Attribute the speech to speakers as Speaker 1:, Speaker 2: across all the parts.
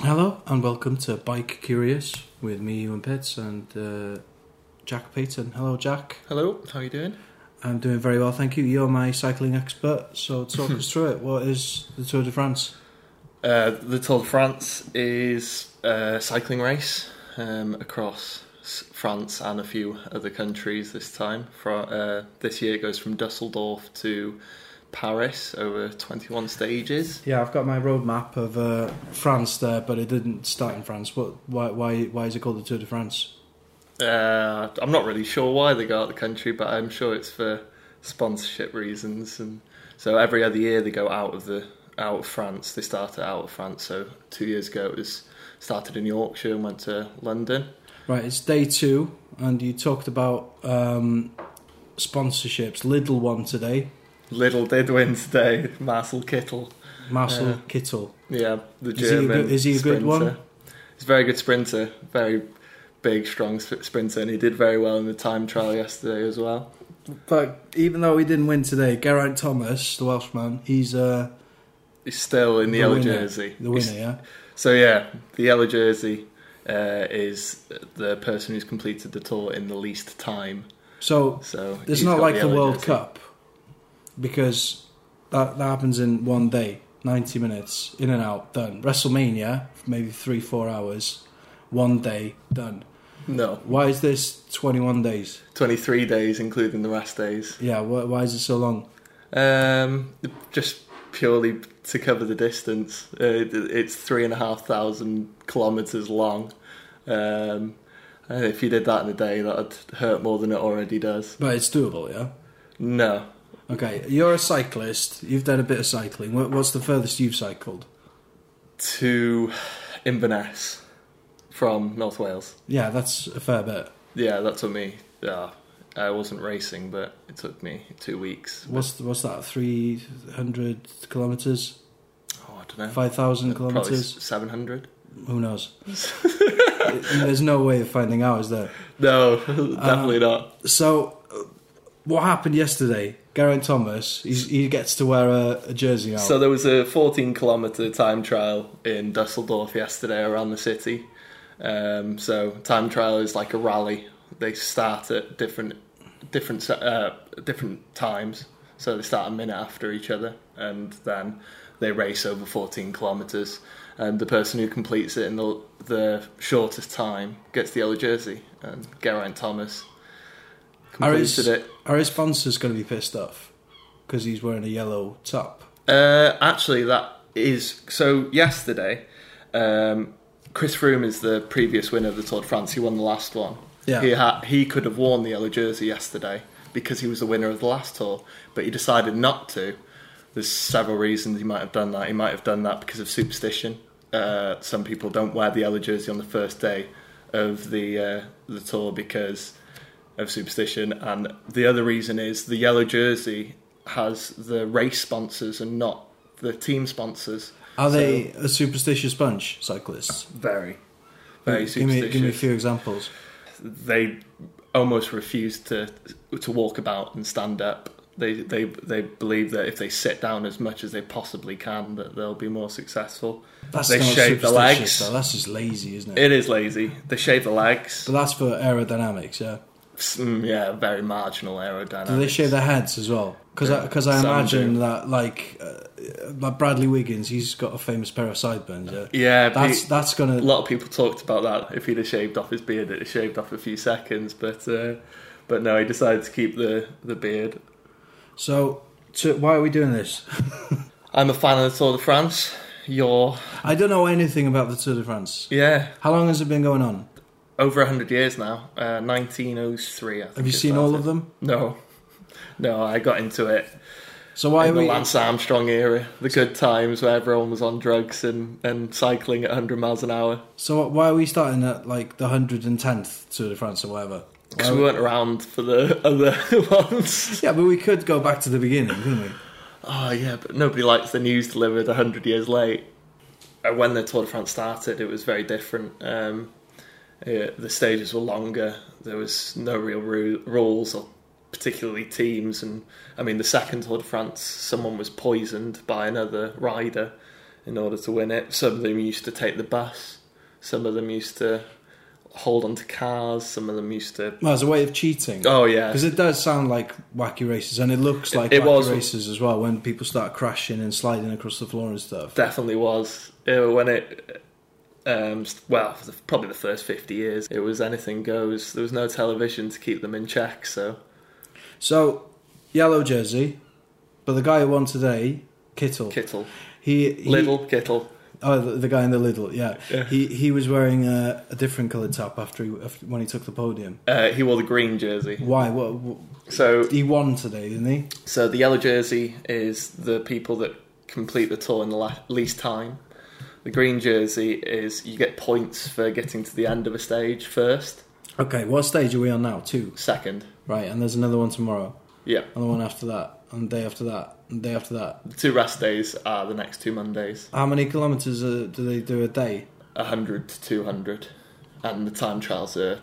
Speaker 1: Hello and welcome to Bike Curious with me, Ewan Pitts, and uh, Jack Payton. Hello, Jack.
Speaker 2: Hello, how you doing?
Speaker 1: I'm doing very well, thank you. You're my cycling expert, so talk us through it. What is the Tour de France?
Speaker 2: Uh, the Tour de France is a cycling race um, across s- France and a few other countries this time. Fro uh, this year it goes from Dusseldorf to Paris over 21 stages.
Speaker 1: Yeah, I've got my roadmap of uh, France there, but it didn't start in France. What? Why? Why? Why is it called the Tour de France?
Speaker 2: Uh, I'm not really sure why they go out the country, but I'm sure it's for sponsorship reasons. And so every other year they go out of the out of France. They started out of France. So two years ago it was started in Yorkshire and went to London.
Speaker 1: Right, it's day two, and you talked about um, sponsorships. Lidl one today,
Speaker 2: Little did win today, Marcel Kittel.
Speaker 1: Marcel
Speaker 2: Yeah.
Speaker 1: Kittel.
Speaker 2: Yeah, the
Speaker 1: Is he a
Speaker 2: German.
Speaker 1: good- is he a good
Speaker 2: sprinter.
Speaker 1: one?
Speaker 2: He's a very good sprinter, very big, strong sp- sprinter, and he did very well in the time trial yesterday as well.
Speaker 1: But even though he didn't win today, Geraint Thomas, the Welshman, he's uh,
Speaker 2: He's still in the,
Speaker 1: The
Speaker 2: yellow
Speaker 1: winner.
Speaker 2: jersey.
Speaker 1: the
Speaker 2: He's-
Speaker 1: winner. Yeah.
Speaker 2: So yeah, the yellow jersey uh, is the person who's completed the tour in the least time.
Speaker 1: So
Speaker 2: So
Speaker 1: It's
Speaker 2: he's
Speaker 1: not
Speaker 2: got
Speaker 1: like the,
Speaker 2: yellow
Speaker 1: World
Speaker 2: jersey.
Speaker 1: Cup because that, that happens in one day, 90 minutes, in and out, done. WrestleMania, maybe three, four hours, one day, done.
Speaker 2: No,
Speaker 1: Why is this 21 days?
Speaker 2: twenty-three days, including the rest days.
Speaker 1: Yeah, why, why is it so long?
Speaker 2: Um, just purely to cover the distance. Uh, it- it's three and a half thousand kilometers long. Um, and if you did that in a day, that'd hurt more than it already does.
Speaker 1: But it's doable, yeah?
Speaker 2: No,
Speaker 1: Okay, you're a cyclist, you've done a bit of cycling. What, what's the furthest you've cycled?
Speaker 2: to Inverness from North Wales.
Speaker 1: Yeah, that's a fair bit.
Speaker 2: Yeah, that took me. Yeah, I wasn't racing, but it took me two weeks.
Speaker 1: What's, what's that, 300 kilometres?
Speaker 2: Oh, I don't know.
Speaker 1: 5,000 kilometres?
Speaker 2: Seven hundred.
Speaker 1: Who knows? There's no way of finding out, is there?
Speaker 2: No, definitely not.
Speaker 1: So, uh, what happened yesterday? Geraint Thomas, he's, he gets to wear a, a jersey now.
Speaker 2: So there was a 14 kilometer time trial in Dusseldorf yesterday around the city. Um, so time trial is like a rally. They start at different different uh, different times. So they start a minute after each other, and then they race over 14 kilometers. And the person who completes it in the the shortest time gets the yellow jersey. And Geraint Thomas
Speaker 1: Are
Speaker 2: completed
Speaker 1: his-
Speaker 2: it.
Speaker 1: Are his sponsors going to be pissed off? Because he's wearing a yellow top.
Speaker 2: Uh, actually, that is so. Yesterday, um, Chris Froome is the previous winner of the Tour de France. He won the last one.
Speaker 1: Yeah.
Speaker 2: He ha- he could have worn the yellow jersey yesterday because he was the winner of the last tour, but he decided not to. There's several reasons he might have done that. He might have done that because of superstition. Uh, some people don't wear the yellow jersey on the first day of the uh, the tour because of superstition, and the other reason is the yellow jersey has the race sponsors and not the team sponsors.
Speaker 1: Are
Speaker 2: So-
Speaker 1: they a superstitious bunch, cyclists?
Speaker 2: Very, very
Speaker 1: give, me,
Speaker 2: superstitious.
Speaker 1: give me a few examples.
Speaker 2: They almost refuse to to walk about and stand up. They they they believe that if they sit down as much as they possibly can, that they'll be more successful.
Speaker 1: That's
Speaker 2: they
Speaker 1: not
Speaker 2: shave the
Speaker 1: superstitious,
Speaker 2: legs.
Speaker 1: Though. That's just lazy, isn't it?
Speaker 2: It is lazy. They shave the legs.
Speaker 1: But that's for aerodynamics, yeah.
Speaker 2: Mm, yeah, very marginal aerodynamics.
Speaker 1: Do they shave their heads as well? Because I,
Speaker 2: Yeah,
Speaker 1: 'cause I
Speaker 2: some
Speaker 1: imagine
Speaker 2: do.
Speaker 1: that, like, uh, like Bradley Wiggins, he's got a famous pair of sideburns, yeah.
Speaker 2: Yeah,
Speaker 1: That's
Speaker 2: pe-
Speaker 1: that's gonna
Speaker 2: a lot of people talked about that. If he'd have shaved off his beard, it'd have shaved off a few seconds. But uh, but no, he decided to keep the the beard.
Speaker 1: So, to, why are we doing this?
Speaker 2: I'm a fan of the Tour de France. You're
Speaker 1: I don't know anything about the Tour de France.
Speaker 2: yeah,
Speaker 1: How long has it been going on?
Speaker 2: over hundred years now. Uh, 1903. I think
Speaker 1: Have you
Speaker 2: it
Speaker 1: seen all of
Speaker 2: started.
Speaker 1: them?
Speaker 2: No, no. I got into it
Speaker 1: So why are
Speaker 2: in the
Speaker 1: we?
Speaker 2: Lance Armstrong era, the good times where everyone was on drugs and and cycling at 100 miles an hour.
Speaker 1: So why are we starting at like the hundred and tenth Tour de France or whatever?
Speaker 2: Because we weren't around for the other ones.
Speaker 1: Yeah, but we could go back to the beginning, couldn't we?
Speaker 2: Oh yeah, but nobody likes the news delivered hundred years late. Uh, When the Tour de France started, it was very different. Um, yeah, the stages were longer. There was no real ru- rules or particularly teams. And I mean, the second Tour de France, someone was poisoned by another rider in order to win it. Some of them used to take the bus. Some of them used to hold onto cars. Some of them used to.
Speaker 1: Well, as a way of cheating.
Speaker 2: Oh yeah,
Speaker 1: Because it does sound like wacky races, and it looks like
Speaker 2: it
Speaker 1: wacky
Speaker 2: was-
Speaker 1: races as well when people start crashing and sliding across the floor and stuff.
Speaker 2: definitely was Uh, when it um s- well for the- probably the first 50 years it was anything goes there was no television to keep them in check so
Speaker 1: So, yellow jersey, but the guy who won today, Kittle.
Speaker 2: kittle
Speaker 1: he, he
Speaker 2: little kittle
Speaker 1: Oh, the, the guy in the Lidl. Yeah,
Speaker 2: Yeah.
Speaker 1: he he was wearing a, a different coloured top after, he, after when he took the podium.
Speaker 2: uh, he wore the green jersey
Speaker 1: Why? What, what?
Speaker 2: so
Speaker 1: He won today, didn't he?
Speaker 2: so the yellow jersey is the people that complete the tour in the la- least time the green jersey is you get points for getting to the end of a stage first
Speaker 1: Okay, what stage are we on now? Two.
Speaker 2: second
Speaker 1: Right, and there's another one tomorrow,
Speaker 2: yeah
Speaker 1: and the one after that, and the day after that, and the day after that.
Speaker 2: the two rest days are the next two mondays
Speaker 1: How many kilometres uh, do they do a day?
Speaker 2: 100 to 200 and the time trials are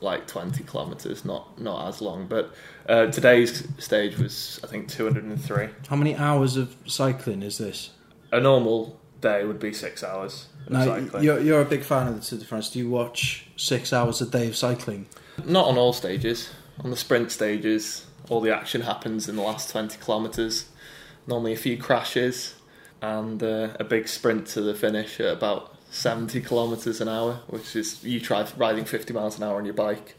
Speaker 2: like 20 kilometers not not as long but uh, today's stage was i think 203
Speaker 1: How many hours of cycling is this?
Speaker 2: a normal day would be six hours of
Speaker 1: Now,
Speaker 2: cycling
Speaker 1: you're, you're a big fan of the Tour de France. Do you watch six hours a day of cycling?
Speaker 2: not on all stages on the sprint stages all the action happens in the last 20 kilometers normally a few crashes and uh, a big sprint to the finish at about 70 kilometers an hour which is you try riding 50 miles an hour on your bike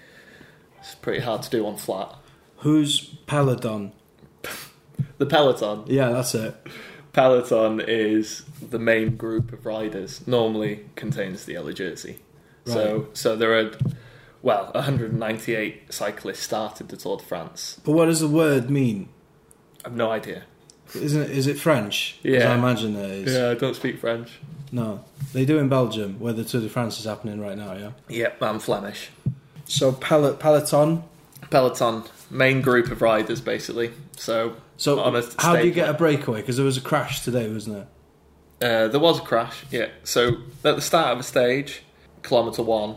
Speaker 2: it's pretty hard to do on flat
Speaker 1: Who's Peloton?
Speaker 2: The peloton.
Speaker 1: Yeah, that's it.
Speaker 2: Peloton is the main group of riders. Normally contains the yellow jersey. So so there are well 198 cyclists started the Tour de France.
Speaker 1: But what does the word mean?
Speaker 2: I've no idea.
Speaker 1: Isn't it, is it French? 'Cause
Speaker 2: Yeah.
Speaker 1: I imagine it is.
Speaker 2: Yeah, I don't speak French.
Speaker 1: No, they do in Belgium, where the Tour de France is happening right now. Yeah.
Speaker 2: Yep, I'm Flemish.
Speaker 1: So Pel- Peloton.
Speaker 2: Peloton, main group of riders basically. So
Speaker 1: So
Speaker 2: On a
Speaker 1: how do you
Speaker 2: stage
Speaker 1: get a
Speaker 2: one.
Speaker 1: breakaway? Because there was a crash today, wasn't there?
Speaker 2: Uh, there was a crash, yeah. So at the start of a stage, kilometre one,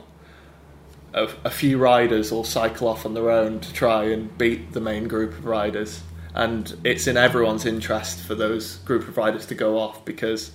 Speaker 2: a, a few riders will cycle off on their own to try and beat the main group of riders. And it's in everyone's interest for those group of riders to go off because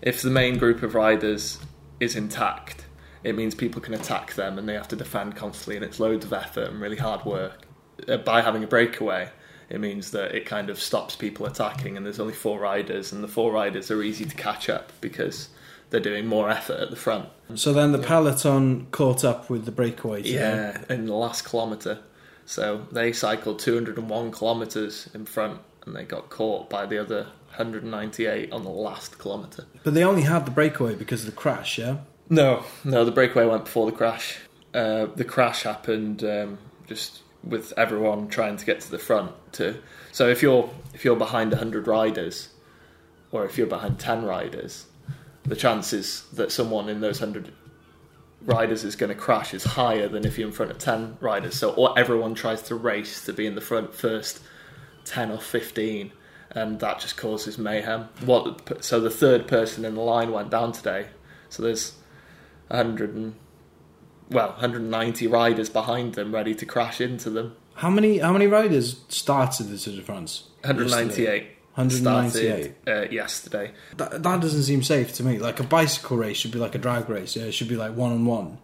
Speaker 2: if the main group of riders is intact, it means people can attack them and they have to defend constantly, and it's loads of effort and really hard work. Uh, By having a breakaway, it means that it kind of stops people attacking, and there's only four riders, and the four riders are easy to catch up because they're doing more effort at the front.
Speaker 1: So then the peloton caught up with the breakaway. today.
Speaker 2: Yeah, in the last kilometre. So they cycled 201 kilometres in front, and they got caught by the other 198 on the last kilometre.
Speaker 1: But they only had the breakaway because of the crash. Yeah.
Speaker 2: No, no, the breakaway went before the crash. Uh, the crash happened um, just with everyone trying to get to the front. To so if you're if you're behind hundred riders, or if you're behind ten riders, the chances that someone in those hundred riders is going to crash is higher than if you're in front of ten riders. So or everyone tries to race to be in the front first, ten or fifteen. And that just causes mayhem. What? So the third person in the line went down today. So there's 100 and well 190 riders behind them ready to crash into them
Speaker 1: How many how many riders started the Tour de France? yesterday? 198.
Speaker 2: 198 started, uh, yesterday
Speaker 1: That, that doesn't seem safe to me. Like a bicycle race should be like a drag race. Yeah, it should be like one on one,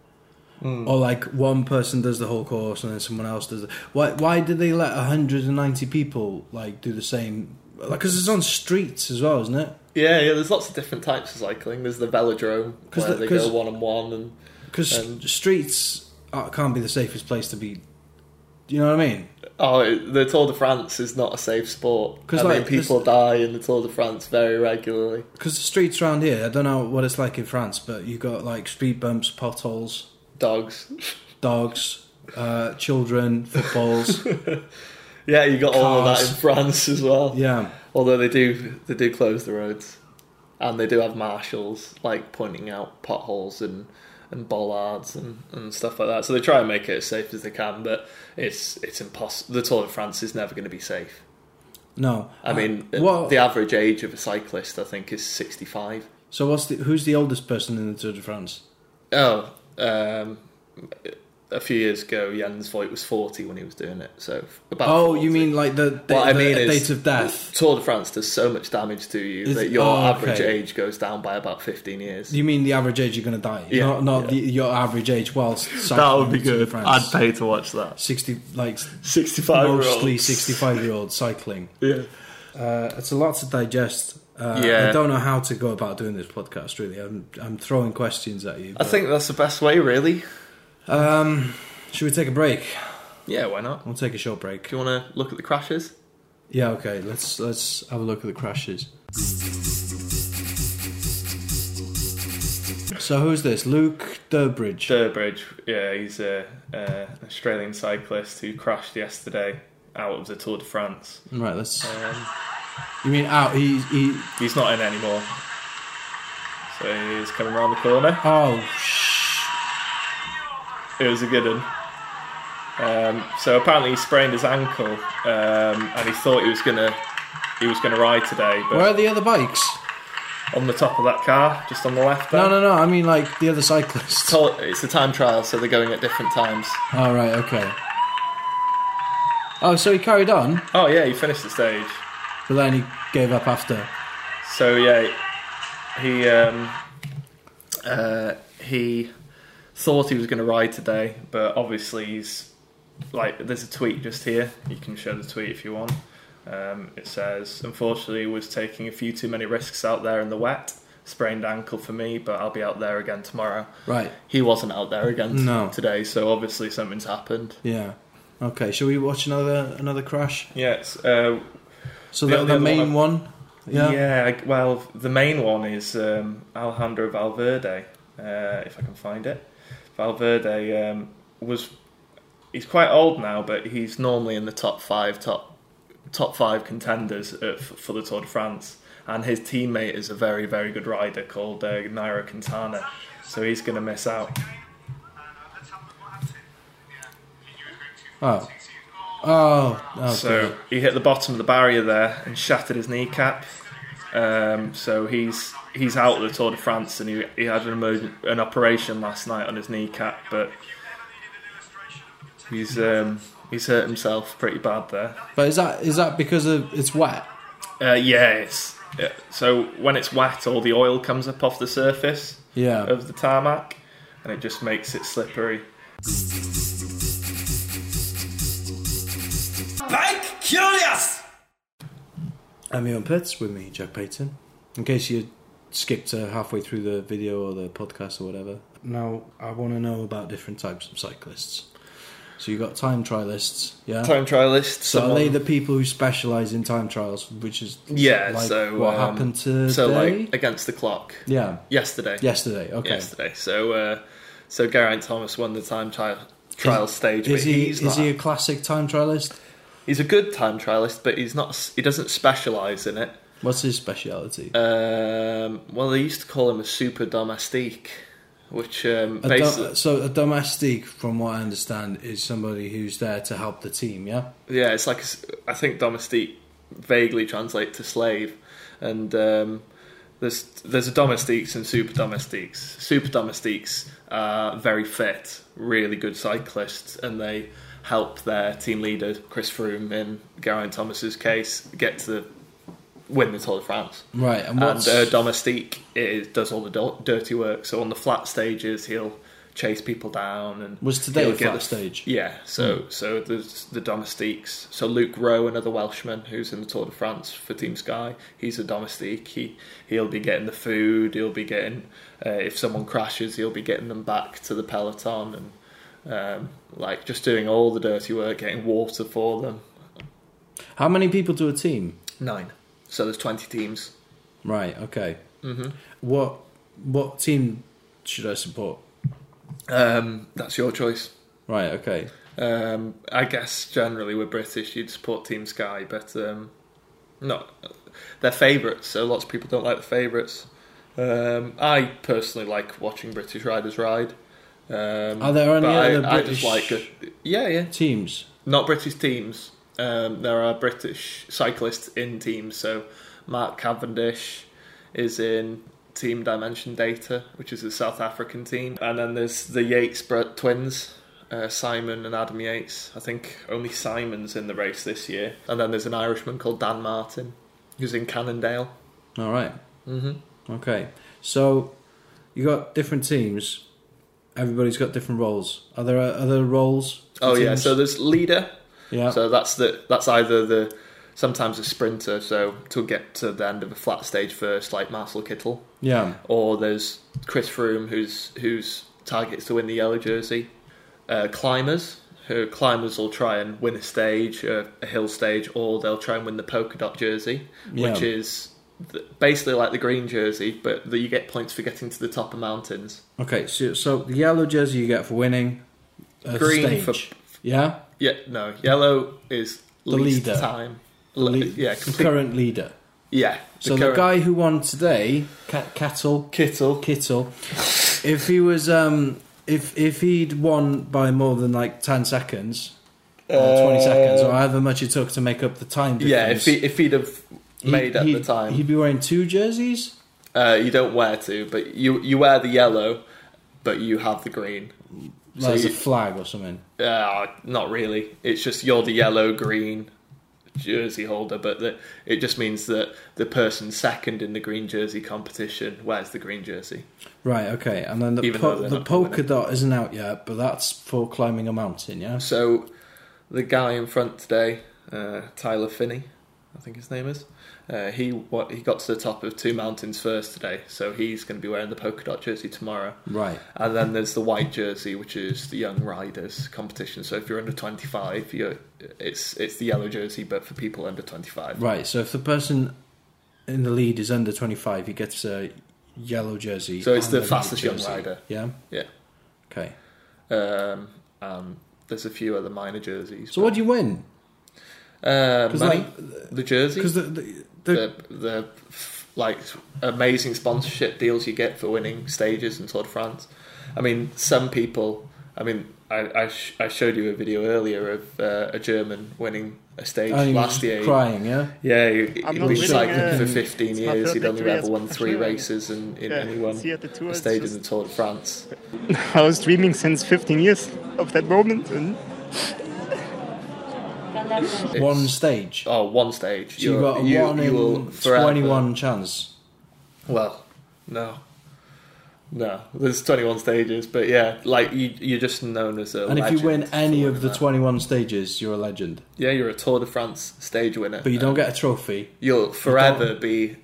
Speaker 1: or like one person does the whole course and then someone else does. The... Why? Why did they let hundred and ninety people like do the same? Like, because it's on streets as well, isn't it?
Speaker 2: yeah yeah there's lots of different types of cycling there's the velodrome
Speaker 1: 'Cause
Speaker 2: where
Speaker 1: the-
Speaker 2: they
Speaker 1: 'cause-
Speaker 2: go one on one and
Speaker 1: Because
Speaker 2: Um,
Speaker 1: streets are, can't be the safest place to be. Do you know what I mean?
Speaker 2: oh it- the tour de france is not a safe sport
Speaker 1: 'Cause,
Speaker 2: i
Speaker 1: like,
Speaker 2: mean people die in the tour de france very regularly
Speaker 1: Because the streets around here, I don't know what it's like in France, but you've got like speed bumps, potholes,
Speaker 2: dogs
Speaker 1: dogs, uh, children, footballs.
Speaker 2: yeah you got all of that
Speaker 1: Cars.
Speaker 2: in france as well
Speaker 1: yeah.
Speaker 2: although they do they do close the roads and they do have marshals like pointing out potholes and and bollards and, and stuff like that so they try and make it as safe as they can but it's it's impossible the tour de france is never going to be safe
Speaker 1: No.
Speaker 2: i mean
Speaker 1: Uh, well,
Speaker 2: the average age of a cyclist i think is 65 Uh,
Speaker 1: Oh, So what's the who's the oldest person in the Tour de France?
Speaker 2: oh um a few years ago, Jens Voigt was 40 when he was doing it. So about
Speaker 1: Oh,
Speaker 2: 40.
Speaker 1: you mean like the, the,
Speaker 2: What I
Speaker 1: the
Speaker 2: mean is-
Speaker 1: date of death?
Speaker 2: Tour de France does so much damage to you
Speaker 1: Is-
Speaker 2: that your
Speaker 1: oh,
Speaker 2: average
Speaker 1: okay.
Speaker 2: age goes down by about 15 years.
Speaker 1: You mean the average age you're going to die?
Speaker 2: Yeah,
Speaker 1: not not
Speaker 2: yeah.
Speaker 1: The, your average age whilst
Speaker 2: that would
Speaker 1: cycling
Speaker 2: be
Speaker 1: to
Speaker 2: good.
Speaker 1: France.
Speaker 2: I'd pay to watch that.
Speaker 1: 60 like
Speaker 2: 65
Speaker 1: mostly 65 year old cycling.
Speaker 2: Yeah.
Speaker 1: Uh, it's a lot to digest. Uh,
Speaker 2: Yeah.
Speaker 1: I don't know how to go about doing this podcast. Really, I'm I'm throwing questions at you.
Speaker 2: I
Speaker 1: but-
Speaker 2: think that's the best way, really.
Speaker 1: Um, should we take a break?
Speaker 2: Yeah, why not?
Speaker 1: We'll take a short break.
Speaker 2: Do you want to look at the crashes?
Speaker 1: Yeah. Okay. Let's let's have a look at the crashes. So who's this? Luke Durbridge.
Speaker 2: Durbridge, yeah, he's a uh, Australian cyclist who crashed yesterday out of the Tour de France.
Speaker 1: right. Let's.
Speaker 2: Um,
Speaker 1: You mean out? He he.
Speaker 2: he's not in anymore, so he's coming around the corner.
Speaker 1: Oh. Sh-
Speaker 2: It was a good one. Um, so apparently he sprained his ankle, um, and he thought he was gonna he was gonna ride today, but
Speaker 1: Where are the other bikes?
Speaker 2: on the top of that car, just on the left. There,
Speaker 1: No, no, no. I mean like the other cyclists.
Speaker 2: It's all- It's a time trial, so they're going at different times.
Speaker 1: All right. Okay. Oh, so he carried on,
Speaker 2: Oh yeah, he finished the stage.
Speaker 1: but then he gave up after.
Speaker 2: So yeah, he um, uh, he thought he was going to ride today, but obviously he's like there's a tweet just here. You can show the tweet if you want. Um, it says, "Unfortunately, was taking a few too many risks out there in the wet. Sprained ankle for me, but I'll be out there again tomorrow."
Speaker 1: Right.
Speaker 2: He wasn't out there again t-
Speaker 1: No.
Speaker 2: today, so obviously something's happened.
Speaker 1: Yeah. Okay. Shall we watch another another crash?
Speaker 2: Yeah, it's, uh,
Speaker 1: So the,
Speaker 2: The- the
Speaker 1: the,
Speaker 2: other
Speaker 1: main one.
Speaker 2: Yeah.
Speaker 1: Yeah.
Speaker 2: I- well, the main one is um, Alejandro Valverde, uh, if I can find it. Valverde um, was he's quite old now, but he's normally in the top five, top top five contenders uh, f- for the Tour de France. And his teammate is a very, very good rider called uh, Nairo Quintana, so he's going to miss out.
Speaker 1: Oh. Oh. oh
Speaker 2: so
Speaker 1: God.
Speaker 2: he hit the bottom of the barrier there and shattered his kneecap. Um, so he's he's out of the Tour de France and he, he had an, emerg- an operation last night on his kneecap, but he's um, he's hurt himself pretty bad there.
Speaker 1: But is that is that because of it's wet?
Speaker 2: Uh, yeah, it's, yeah, so when it's wet, all the oil comes up off the surface
Speaker 1: Yeah.
Speaker 2: of the tarmac, and it just makes it slippery.
Speaker 3: Bike Curious!
Speaker 1: I'm Ian Pitts with me, Jack Payton. In case you skipped uh, halfway through the video or the podcast or whatever. Now I want to know about different types of cyclists. So you got time trialists, yeah.
Speaker 2: Time trialist.
Speaker 1: so are they the people who specialise in time trials, which is
Speaker 2: yeah.
Speaker 1: like
Speaker 2: so
Speaker 1: what
Speaker 2: um,
Speaker 1: happened today?
Speaker 2: So like against the clock
Speaker 1: yeah,
Speaker 2: yesterday.
Speaker 1: yesterday. Okay,
Speaker 2: yesterday. So, uh, so Geraint Thomas won the time trial trial stage.
Speaker 1: is
Speaker 2: but
Speaker 1: he
Speaker 2: he's
Speaker 1: is
Speaker 2: not,
Speaker 1: he a classic time trialist?
Speaker 2: He's a good time trialist, but he's not. s- He doesn't specialise in it.
Speaker 1: What's his speciality?
Speaker 2: Um, well, they used to call him a super domestique, which um,
Speaker 1: A dom-
Speaker 2: basically,
Speaker 1: so a domestique, from what I understand, is somebody who's there to help the team. Yeah.
Speaker 2: yeah, it's like a s- I think domestique vaguely translate to slave, and um, there's there's domestiques and super domestiques. Super domestiques are very fit, really good cyclists, and they help their team leader Chris Froome in Geraint Thomas's case get to the, win the Tour de France.
Speaker 1: Right. And
Speaker 2: And
Speaker 1: what's
Speaker 2: uh, domestique is, does all the do- dirty work. So on the flat stages, he'll chase people down and
Speaker 1: was today
Speaker 2: he'll
Speaker 1: a
Speaker 2: get
Speaker 1: flat
Speaker 2: the-
Speaker 1: stage? Hmm.
Speaker 2: yeah, so so there's the domestiques. So Luke Rowe, another Welshman who's in the Tour de France for Team Sky, he's a domestique. He he'll be getting the food. He'll be getting uh, if someone crashes, he'll be getting them back to the peloton and um, like just doing all the dirty work, getting water for them.
Speaker 1: How many people do a team?
Speaker 2: Nine. So there's twenty teams.
Speaker 1: Right. Okay. Mm-hmm. What what team should I support?
Speaker 2: Um, that's your choice.
Speaker 1: Right. Okay.
Speaker 2: Um, I guess generally we're British, you'd support Team Sky, but um, not they're favourites. So lots of people don't like the favourites. Um, I personally like watching British riders ride. Um,
Speaker 1: Are there any
Speaker 2: but I,
Speaker 1: other
Speaker 2: I just
Speaker 1: British-
Speaker 2: like good, yeah, yeah,
Speaker 1: Teams.
Speaker 2: not British teams. Um, there are British cyclists in teams. So Mark Cavendish is in Team Dimension Data, which is a South African team, and then there's the Yates Brett twins. uh, Simon and Adam Yates. I think only Simon's in the race this year. And then there's an Irishman called Dan Martin who's in Cannondale.
Speaker 1: All Mm-hmm. Okay. So you got different teams. Everybody's got different roles. Are there are there roles? for
Speaker 2: Oh yeah,
Speaker 1: teams?
Speaker 2: so there's leader.
Speaker 1: yeah.
Speaker 2: So that's the that's either the sometimes a sprinter, so to get to the end of a flat stage first, like Marcel Kittel,
Speaker 1: yeah.
Speaker 2: or there's Chris Froome, who's whose target is to win the yellow jersey. Uh, climbers, who climbers will try and win a stage, a, a hill stage, or they'll try and win the polka dot jersey, which
Speaker 1: Yeah.
Speaker 2: is th- basically like the green jersey, but that you get points for getting to the top of mountains.
Speaker 1: Okay. So, so the yellow jersey you get for winning. a
Speaker 2: Green for-
Speaker 1: stage. yeah.
Speaker 2: Yeah, no, yellow is
Speaker 1: The
Speaker 2: least
Speaker 1: leader.
Speaker 2: time. Le-
Speaker 1: Le-
Speaker 2: yeah, complete,
Speaker 1: current leader.
Speaker 2: yeah.
Speaker 1: So the,
Speaker 2: current-
Speaker 1: guy who won today, Cat Cattle,
Speaker 2: Kittle.
Speaker 1: Kittle, if he was um if if he'd won by more than like ten seconds or twenty seconds or however much it took to make up the time difference.
Speaker 2: Uh, Yeah, if he if he'd have made at
Speaker 1: he-
Speaker 2: the time,
Speaker 1: He'd be wearing two jerseys.
Speaker 2: uh, you don't wear to, but you you wear the yellow, but you have the green. So
Speaker 1: Like as a
Speaker 2: you-
Speaker 1: flag or something.
Speaker 2: Uh, not really. It's just you're the yellow green jersey holder, but the, it just means that the person second in the green jersey competition wears the green jersey.
Speaker 1: Right, okay. And then the,
Speaker 2: Even
Speaker 1: po-
Speaker 2: though they're
Speaker 1: the
Speaker 2: not
Speaker 1: polka
Speaker 2: winning.
Speaker 1: dot isn't out yet, but that's for climbing a mountain, yeah?
Speaker 2: So the guy in front today, uh, Tyler Finney, I think his name is. Uh, he what he got to the top of two mountains first today, so he's going to be wearing the polka dot jersey tomorrow.
Speaker 1: Right.
Speaker 2: And then there's the white jersey, which is the young riders competition. So if you're under 25, you're, it's it's the yellow jersey, but for people under 25.
Speaker 1: Right, so if the person in the lead is under 25, he gets a yellow jersey.
Speaker 2: So it's
Speaker 1: and
Speaker 2: the
Speaker 1: a white
Speaker 2: fastest young
Speaker 1: jersey.
Speaker 2: rider.
Speaker 1: Yeah?
Speaker 2: Yeah.
Speaker 1: Okay.
Speaker 2: Um, um, there's a few other minor jerseys.
Speaker 1: So what do you win?
Speaker 2: uh,
Speaker 1: 'Cause
Speaker 2: money,
Speaker 1: like-
Speaker 2: the jersey,
Speaker 1: Because the, the, the,
Speaker 2: the the f- like amazing sponsorship deals you get for winning stages in Tour de France. I mean, some people. I mean, I I, sh- I showed you a video earlier of uh, a German winning a stage
Speaker 1: oh, he was
Speaker 2: last year.
Speaker 1: crying, yeah?
Speaker 2: Yeah, he,
Speaker 4: I'm
Speaker 2: he'd
Speaker 4: not
Speaker 2: been
Speaker 4: winning,
Speaker 2: cycling
Speaker 4: uh,
Speaker 2: for 15
Speaker 4: it's my
Speaker 2: years. He'd
Speaker 4: third
Speaker 2: only
Speaker 4: victory
Speaker 2: ever
Speaker 4: as
Speaker 2: won three
Speaker 4: professional.
Speaker 2: races, and, and
Speaker 4: Yeah,
Speaker 2: only won
Speaker 4: see at the tour,
Speaker 2: a
Speaker 4: it's
Speaker 2: stage in
Speaker 4: just-
Speaker 2: the Tour de France.
Speaker 4: I was dreaming since 15 years of that moment, and
Speaker 2: It's-
Speaker 1: One stage. So
Speaker 2: oh, one stage.
Speaker 1: you
Speaker 2: You're-
Speaker 1: got a
Speaker 2: you-
Speaker 1: 1
Speaker 2: you will
Speaker 1: in
Speaker 2: forever-
Speaker 1: 21 chance.
Speaker 2: Well, no. No, there's 21 stages, but yeah, like you, you're just known as a.
Speaker 1: And if you win
Speaker 2: legend for
Speaker 1: any
Speaker 2: winning
Speaker 1: of the
Speaker 2: that.
Speaker 1: 21 stages, you're a legend.
Speaker 2: yeah, you're a Tour de France stage winner,
Speaker 1: But you don't get a trophy.
Speaker 2: You'll forever be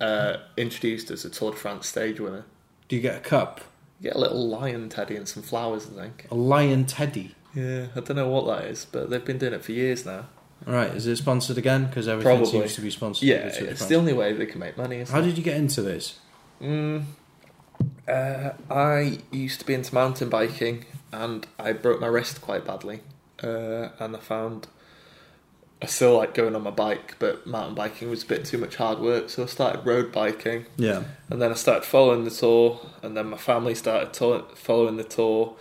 Speaker 2: uh, introduced as a Tour de France stage winner.
Speaker 1: Do you get a cup?
Speaker 2: You get a little lion teddy and some flowers, I think.
Speaker 1: A lion teddy.
Speaker 2: Yeah, I don't know what that is, but they've been doing it for years now.
Speaker 1: All right, is it sponsored again? Because everything
Speaker 2: Probably.
Speaker 1: seems to be sponsored.
Speaker 2: Yeah,
Speaker 1: with Tour de
Speaker 2: it's
Speaker 1: France.
Speaker 2: the only way they can make money. Isn't
Speaker 1: How
Speaker 2: it?
Speaker 1: did you get into this?
Speaker 2: Uh, I used to be into mountain biking, and I broke my wrist quite badly. Uh, and I found I still like going on my bike, but mountain biking was a bit too much hard work, so I started road biking.
Speaker 1: Yeah,
Speaker 2: And then I started following the tour, and then my family started to- following the tour,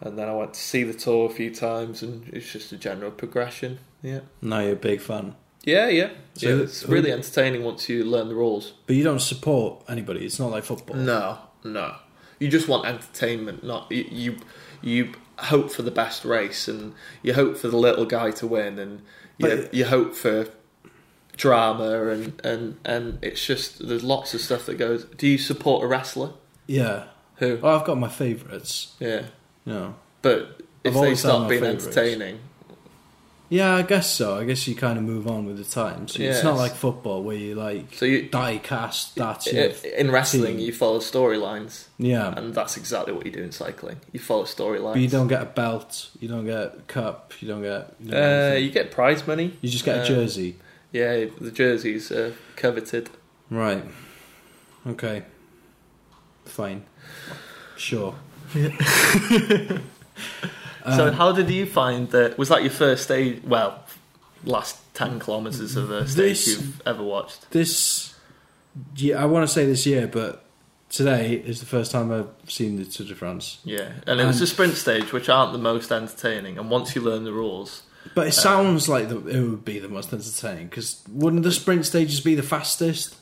Speaker 2: and then I went to see the tour a few times, and it's just a general progression. Yeah,
Speaker 1: now you're a big fan,
Speaker 2: yeah, yeah.
Speaker 1: So
Speaker 2: yeah
Speaker 1: who-
Speaker 2: it's really entertaining once you learn the rules.
Speaker 1: but you don't support anybody. It's not like football.
Speaker 2: No, no. You just want entertainment, not you. You, you hope for the best race, and you hope for the little guy to win, and you,
Speaker 1: But-
Speaker 2: you hope for drama, and, and and it's just there's lots of stuff that goes. Do you support a wrestler?
Speaker 1: Yeah.
Speaker 2: Who?
Speaker 1: Well, I've got my favourites.
Speaker 2: Yeah,
Speaker 1: You know.
Speaker 2: but if they
Speaker 1: always had
Speaker 2: stop
Speaker 1: my
Speaker 2: being
Speaker 1: favourites.
Speaker 2: entertaining,
Speaker 1: Yeah, I guess so. I guess you kind of move on with the times. It's
Speaker 2: Yes.
Speaker 1: not like football where you like
Speaker 2: so you
Speaker 1: die cast. That's
Speaker 2: i-
Speaker 1: it.
Speaker 2: in wrestling
Speaker 1: team.
Speaker 2: you follow storylines,
Speaker 1: Yeah.
Speaker 2: and that's exactly what you do in cycling. You follow storylines.
Speaker 1: But you don't get a belt. You don't get a cup. You don't get. You, don't get
Speaker 2: Uh,
Speaker 1: anything.
Speaker 2: you get prize money.
Speaker 1: You just get a
Speaker 2: uh,
Speaker 1: jersey.
Speaker 2: Yeah, the jerseys are coveted.
Speaker 1: Right. Okay. Fine. Sure.
Speaker 2: So how did you find that? Was that your first stage? Well, last ten kilometers of a stage
Speaker 1: This-
Speaker 2: you've ever watched.
Speaker 1: This, yeah, I want to say this year, but today is the first time I've seen the Tour de France.
Speaker 2: Yeah, and it was
Speaker 1: And-
Speaker 2: a sprint stage, which aren't the most entertaining. And once you learn the rules,
Speaker 1: But it sounds like the, it would be the most entertaining because wouldn't the sprint stages be the fastest?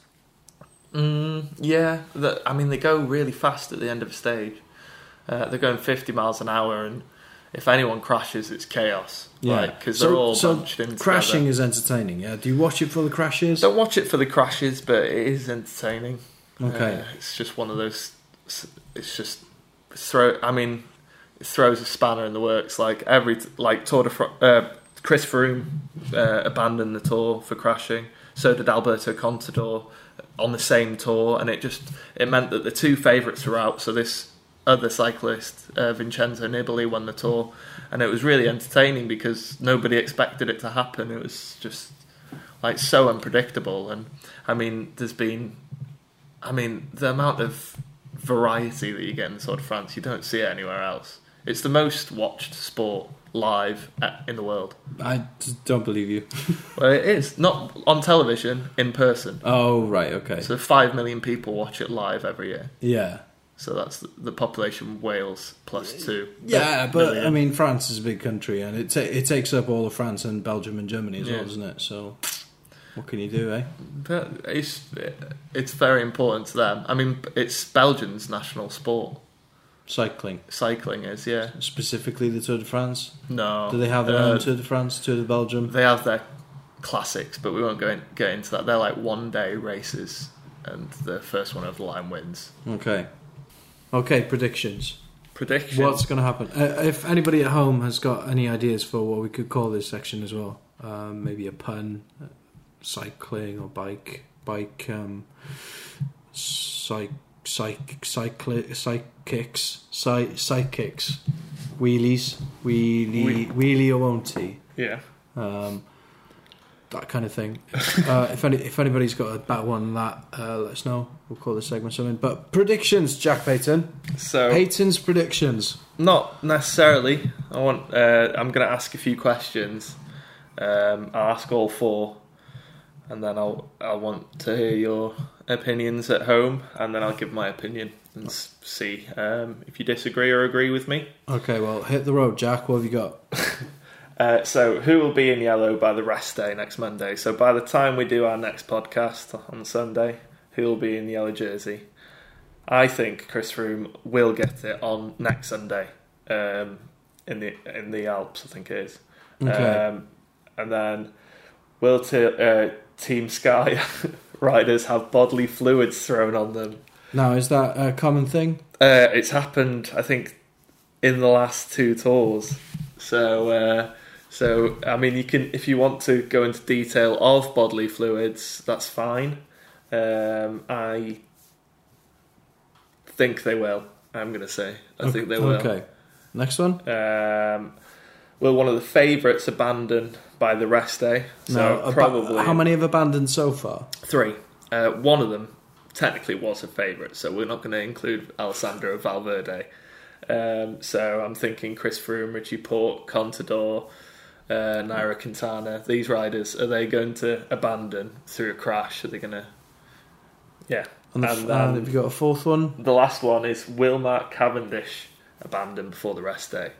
Speaker 2: Mm, yeah, the, I mean they go really fast at the end of a stage. Uh, they're going fifty miles an hour, and if anyone crashes, it's chaos. Yeah, because they're all bunched in
Speaker 1: crashing
Speaker 2: Together.
Speaker 1: is entertaining. Yeah, do you watch it for the crashes?
Speaker 2: Don't watch it for the crashes, but it is entertaining.
Speaker 1: Okay.
Speaker 2: Uh, it's just one of those. It's just throw. I mean, it throws a spanner in the works. Like every t- like Tour de Fr- uh, Chris Froome uh, abandoned the tour for crashing. So did Alberto Contador on the same tour, and it just it meant that the two favourites were out. So this other cyclist, uh, Vincenzo Nibali, won the tour, and it was really entertaining because nobody expected it to happen. It was just like so unpredictable, and I mean, there's been I mean, the amount of variety that you get in the Tour de France, you don't see it anywhere else. It's the most watched sport live uh, in the world.
Speaker 1: I d- don't believe you.
Speaker 2: Well, it is not on television, in person.
Speaker 1: Oh right, okay,
Speaker 2: So five million people watch it live every year.
Speaker 1: yeah,
Speaker 2: So that's the- the population of Wales plus two.
Speaker 1: yeah. But
Speaker 2: million.
Speaker 1: I mean, France is a big country, and it ta- it takes up all of France and Belgium and Germany as
Speaker 2: Yeah.
Speaker 1: well, doesn't it? So, what can you do, eh?
Speaker 2: But it's it's very important to them. I mean, it's Belgium's national sport.
Speaker 1: Cycling,
Speaker 2: Cycling is, yeah.
Speaker 1: specifically the Tour de France.
Speaker 2: No,
Speaker 1: Do they have their
Speaker 2: Uh,
Speaker 1: own Tour de France, Tour de Belgium?
Speaker 2: they have their classics, but we won't go in, get into that. They're like one day races, and the first one over the line wins.
Speaker 1: Okay, okay. Predictions.
Speaker 2: Prediction.
Speaker 1: What's going to happen? Uh, if anybody at home has got any ideas for what we could call this section as well, um, maybe a pun, uh, cycling or bike, bike, um, psych, psych, cycli, psychics, psy, psychics, wheelies, wheelie, wheelie or won't he?
Speaker 2: Yeah.
Speaker 1: um, that kind of thing. uh, if any, if anybody's got a better one than that, uh, let us know. We'll call this segment something. But predictions, Jack Payton.
Speaker 2: So
Speaker 1: Payton's predictions.
Speaker 2: not necessarily. I want. Uh, I'm going to ask a few questions. Um, I'll ask all four, and then I'll I want to hear your opinions at home, and then I'll give my opinion and s- see um, if you disagree or agree with me.
Speaker 1: Okay, well, hit the road, Jack. What have you got?
Speaker 2: Uh, so, who will be in yellow by the rest day next Monday? So, by the time we do our next podcast on Sunday, who will be in the yellow jersey? I think Chris Froome will get it on next Sunday um, in the in the Alps. I think it is.
Speaker 1: Okay.
Speaker 2: Um, and then will t- uh, Team Sky riders have bodily fluids thrown on them?
Speaker 1: Now, is that a common thing?
Speaker 2: Uh, it's happened, I think, in the last two tours. So, uh, so I mean, you can if you want to go into detail of bodily fluids, that's fine. Um, I think they will. I'm going to say I think they will.
Speaker 1: Okay. Next one.
Speaker 2: Um, will one of the favourites abandon by the rest day? So
Speaker 1: aba-
Speaker 2: probably
Speaker 1: How many have abandoned so far?
Speaker 2: Three. Uh, one of them technically was a favourite, so we're not going to include Alessandro Valverde. Um, so I'm thinking Chris Froome, Richie Port, Contador, uh, Nairo Quintana. These riders are they going to abandon through a crash? Are they going to? Yeah.
Speaker 1: And, the, f- and
Speaker 2: And then-
Speaker 1: have you got a fourth one?
Speaker 2: the last one is will Mark Cavendish abandon before the rest day?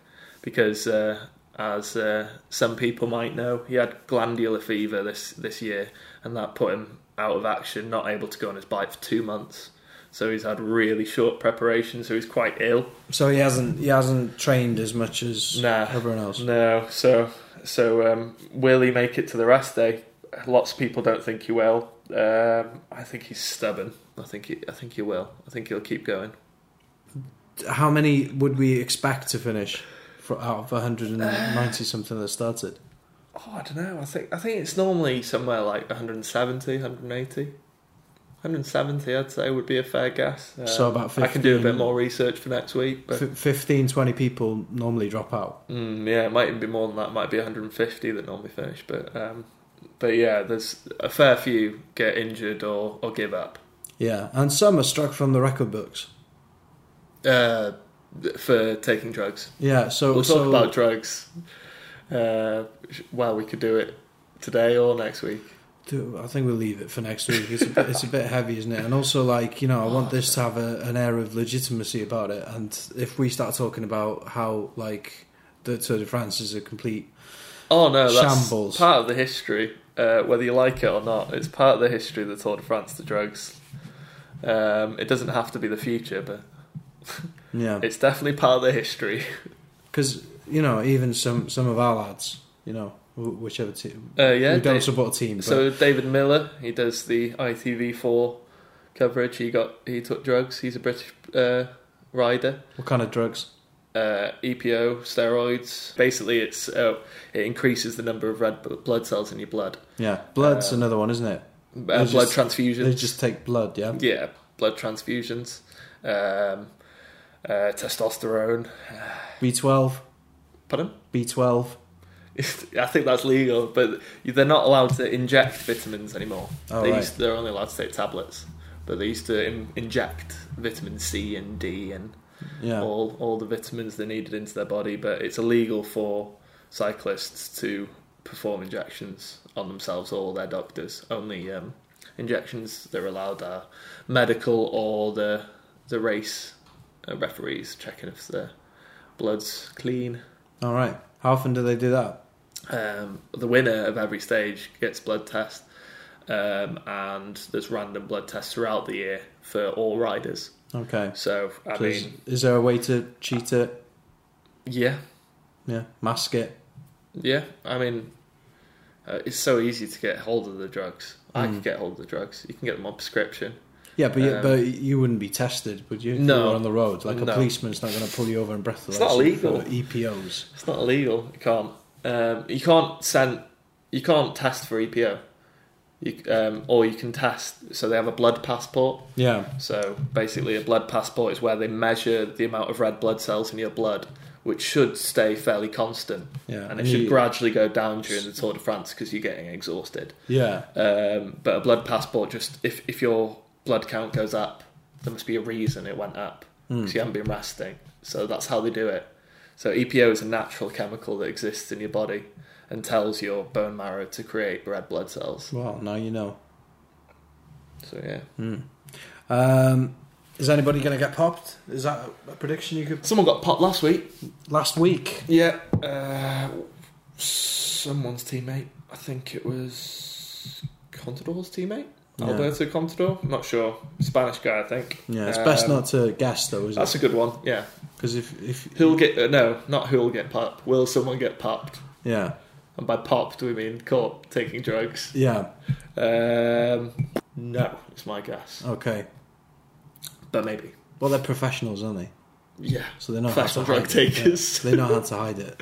Speaker 2: Because uh, as uh, some people might know, he had glandular fever this this year, and that put him out of action, not able to go on his bike for two months. So he's had really short preparation, so he's quite ill.
Speaker 1: So he hasn't he hasn't trained as much as
Speaker 2: Nah.
Speaker 1: everyone else.
Speaker 2: No, so so um, will he make it to the rest day? Lots of people don't think he will. Um, I think he's stubborn. I think he, I think he will. I think he'll keep going.
Speaker 1: How many would we expect to finish for, out of 190 something that started?
Speaker 2: Oh, I don't know. I think I think it's normally somewhere like 170, 180. 170, I'd say, would be a fair guess. Uh,
Speaker 1: So about
Speaker 2: I can do a
Speaker 1: 15.
Speaker 2: bit more research for next week. But,
Speaker 1: F- 15, 20 people normally drop out.
Speaker 2: mm, yeah, it might even be more than that. It might be 150 that normally finish. But um, but yeah, there's a fair few get injured or, or give up.
Speaker 1: Yeah, and some are struck from the record books.
Speaker 2: Uh, for taking drugs.
Speaker 1: Yeah, so
Speaker 2: We'll
Speaker 1: so
Speaker 2: talk about drugs. Uh, well, we could do it today or next week.
Speaker 1: Dude, I think we'll leave it for next week. It's a, bit, it's a bit heavy, isn't it? And also, like you know, I want this to have a, an air of legitimacy about it. And if we start talking about how like the Tour de France is a complete
Speaker 2: Oh no, that's
Speaker 1: Shambles.
Speaker 2: part of the history. Uh, whether you like it or not, it's part of the history of the Tour de France. The drugs. Um, it doesn't have to be the future, but
Speaker 1: yeah,
Speaker 2: it's definitely part of the history.
Speaker 1: because you know, even some some of our lads, you know, wh- whichever team,
Speaker 2: Uh, yeah,
Speaker 1: we don't
Speaker 2: they-
Speaker 1: support a team. But
Speaker 2: So David Miller, he does the ITV4 coverage. He got he took drugs. He's a British uh, rider.
Speaker 1: what kind of drugs?
Speaker 2: Uh, EPO, steroids. Basically, it's uh, it increases the number of red bl- blood cells in your blood.
Speaker 1: Yeah, blood's another one, isn't it?
Speaker 2: Uh,
Speaker 1: They
Speaker 2: blood
Speaker 1: just-
Speaker 2: transfusions.
Speaker 1: They just take blood. Yeah,
Speaker 2: yeah, blood transfusions. Um, uh, testosterone.
Speaker 1: B twelve,
Speaker 2: Pardon?
Speaker 1: B twelve.
Speaker 2: I think that's legal, but they're not allowed to inject vitamins anymore.
Speaker 1: Oh,
Speaker 2: they
Speaker 1: right.
Speaker 2: used they're only allowed to take tablets, but they used to in, inject vitamin C and D and
Speaker 1: Yeah,
Speaker 2: all all the vitamins they needed into their body. But it's illegal for cyclists to perform injections on themselves or their doctors. Only um, injections they're allowed are medical or the the race uh, referees checking if their blood's clean.
Speaker 1: all right. How often do they do that?
Speaker 2: Um, the winner of every stage gets blood test, um, and there's random blood tests throughout the year for all riders.
Speaker 1: Okay.
Speaker 2: So I
Speaker 1: So is,
Speaker 2: mean,
Speaker 1: is there a way to cheat it?
Speaker 2: yeah,
Speaker 1: Yeah, mask it.
Speaker 2: yeah. I mean, uh, it's so easy to get hold of the drugs. I could get hold of the drugs. You can get them on prescription.
Speaker 1: Yeah, but you,
Speaker 2: Um,
Speaker 1: but you wouldn't be tested, would you? If
Speaker 2: No.
Speaker 1: you were on the road. Like a
Speaker 2: No.
Speaker 1: policeman's not going to pull you over and breathalyze.
Speaker 2: It's not
Speaker 1: you
Speaker 2: illegal.
Speaker 1: for E EPOs.
Speaker 2: It's not illegal. You can't. Um, you can't send. You can't test for EPO. You, um, or you can test. So they have a blood passport.
Speaker 1: Yeah,
Speaker 2: So basically, a blood passport is where they measure the amount of red blood cells in your blood, which should stay fairly constant.
Speaker 1: Yeah,
Speaker 2: and it
Speaker 1: and
Speaker 2: should
Speaker 1: you-
Speaker 2: gradually go down during the Tour de France because you're getting exhausted.
Speaker 1: yeah.
Speaker 2: Um, but a blood passport just if if your blood count goes up, there must be a reason it went up
Speaker 1: Hmm.
Speaker 2: because you haven't been resting. So that's how they do it. So EPO is a natural chemical that exists in your body and tells your bone marrow to create red blood cells.
Speaker 1: Well, now you know.
Speaker 2: So yeah,
Speaker 1: Hmm. Um, is anybody going to get popped? Is that a prediction you could?
Speaker 2: someone got popped last week.
Speaker 1: Last week,
Speaker 2: Yeah, uh, someone's teammate. I think it was Contador's teammate,
Speaker 1: Yeah.
Speaker 2: Alberto Contador. I'm not sure. Spanish guy, I think.
Speaker 1: yeah. It's best
Speaker 2: Um,
Speaker 1: not to guess, though, is
Speaker 2: That's
Speaker 1: it?
Speaker 2: a good one. Yeah,
Speaker 1: Because if if
Speaker 2: who'll get? Uh, no, not who'll get popped. Will someone get popped?
Speaker 1: yeah
Speaker 2: And by popped, we mean caught taking drugs.
Speaker 1: yeah
Speaker 2: Um, no, it's my guess,
Speaker 1: okay.
Speaker 2: but maybe.
Speaker 1: Well, they're professionals, aren't they?
Speaker 2: Yeah,
Speaker 1: So they know how to
Speaker 2: professional drug
Speaker 1: hide it, yeah.
Speaker 2: takers.
Speaker 1: They know how to hide it.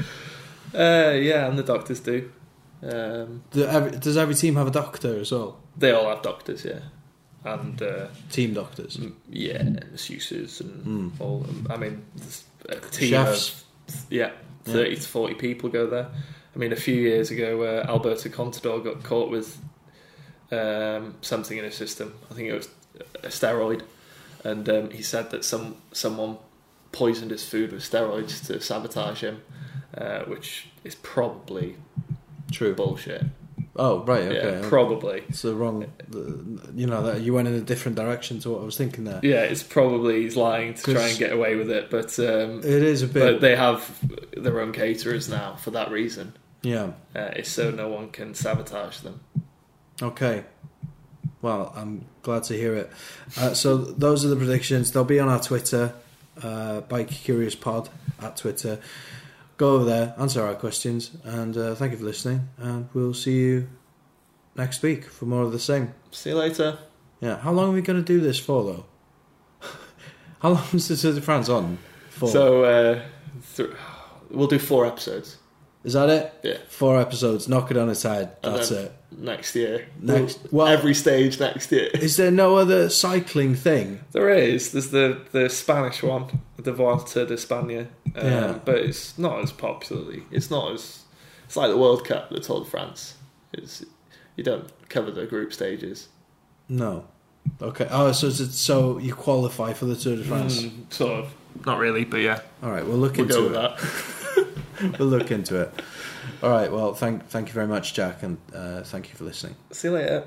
Speaker 2: Uh, yeah, and the doctors do. Um,
Speaker 1: Do every, does every team have a doctor as well?
Speaker 2: they all have doctors, yeah, and. Uh,
Speaker 1: Team doctors.
Speaker 2: yeah, masseuses and all. I mean, there's a team
Speaker 1: Hmm. Chefs.
Speaker 2: of yeah, thirty to forty people go there. I mean, a few years ago, uh, Alberto Contador got caught with um, something in his system. I think it was a steroid, and um, he said that some someone poisoned his food with steroids to sabotage him, uh, which is probably
Speaker 1: True.
Speaker 2: bullshit.
Speaker 1: Oh right, okay.
Speaker 2: yeah,
Speaker 1: okay.
Speaker 2: probably.
Speaker 1: It's the wrong, the- you know, that you went in a different direction to what I was thinking there.
Speaker 2: Yeah, it's probably he's lying to try
Speaker 1: 'Cause-
Speaker 2: and get away with it, but um,
Speaker 1: It is a
Speaker 2: But
Speaker 1: bit,
Speaker 2: they have their own caterers now for that reason.
Speaker 1: yeah.
Speaker 2: Uh, it's so no one can sabotage them.
Speaker 1: Okay. Well, I'm glad to hear it. Uh, so those are the predictions. They'll be on our Twitter, uh, Bike Curious Pod at Twitter. Go over there, answer our questions, and uh, thank you for listening. And we'll see you next week for more of the same.
Speaker 2: See you later.
Speaker 1: Yeah. How long are we going to do this for, though? How long is the Tour de France on for?
Speaker 2: So uh, th- we'll do four episodes
Speaker 1: is that it?
Speaker 2: Yeah.
Speaker 1: Four episodes. Knock it on its head.
Speaker 2: And
Speaker 1: That's
Speaker 2: then-
Speaker 1: it.
Speaker 2: next year.
Speaker 1: Next-
Speaker 2: We'll-
Speaker 1: well-
Speaker 2: every stage next year.
Speaker 1: Is there no other cycling thing?
Speaker 2: There is. There's the the Spanish one, the Vuelta de España, um,
Speaker 1: Yeah.
Speaker 2: but it's not as popularly. It's not as. It's like the World Cup, the Tour de France. It's you don't cover the group stages.
Speaker 1: No. Okay. Oh, so it's- it's- so you qualify for the Tour de France.
Speaker 2: Mm, sort of. Not really, but yeah,
Speaker 1: All right, we'll look
Speaker 2: we'll
Speaker 1: into
Speaker 2: go with
Speaker 1: it.
Speaker 2: that.
Speaker 1: We'll look into it. All right. Well, thank thank you very much, Jack, and uh, thank you for listening.
Speaker 2: See you later.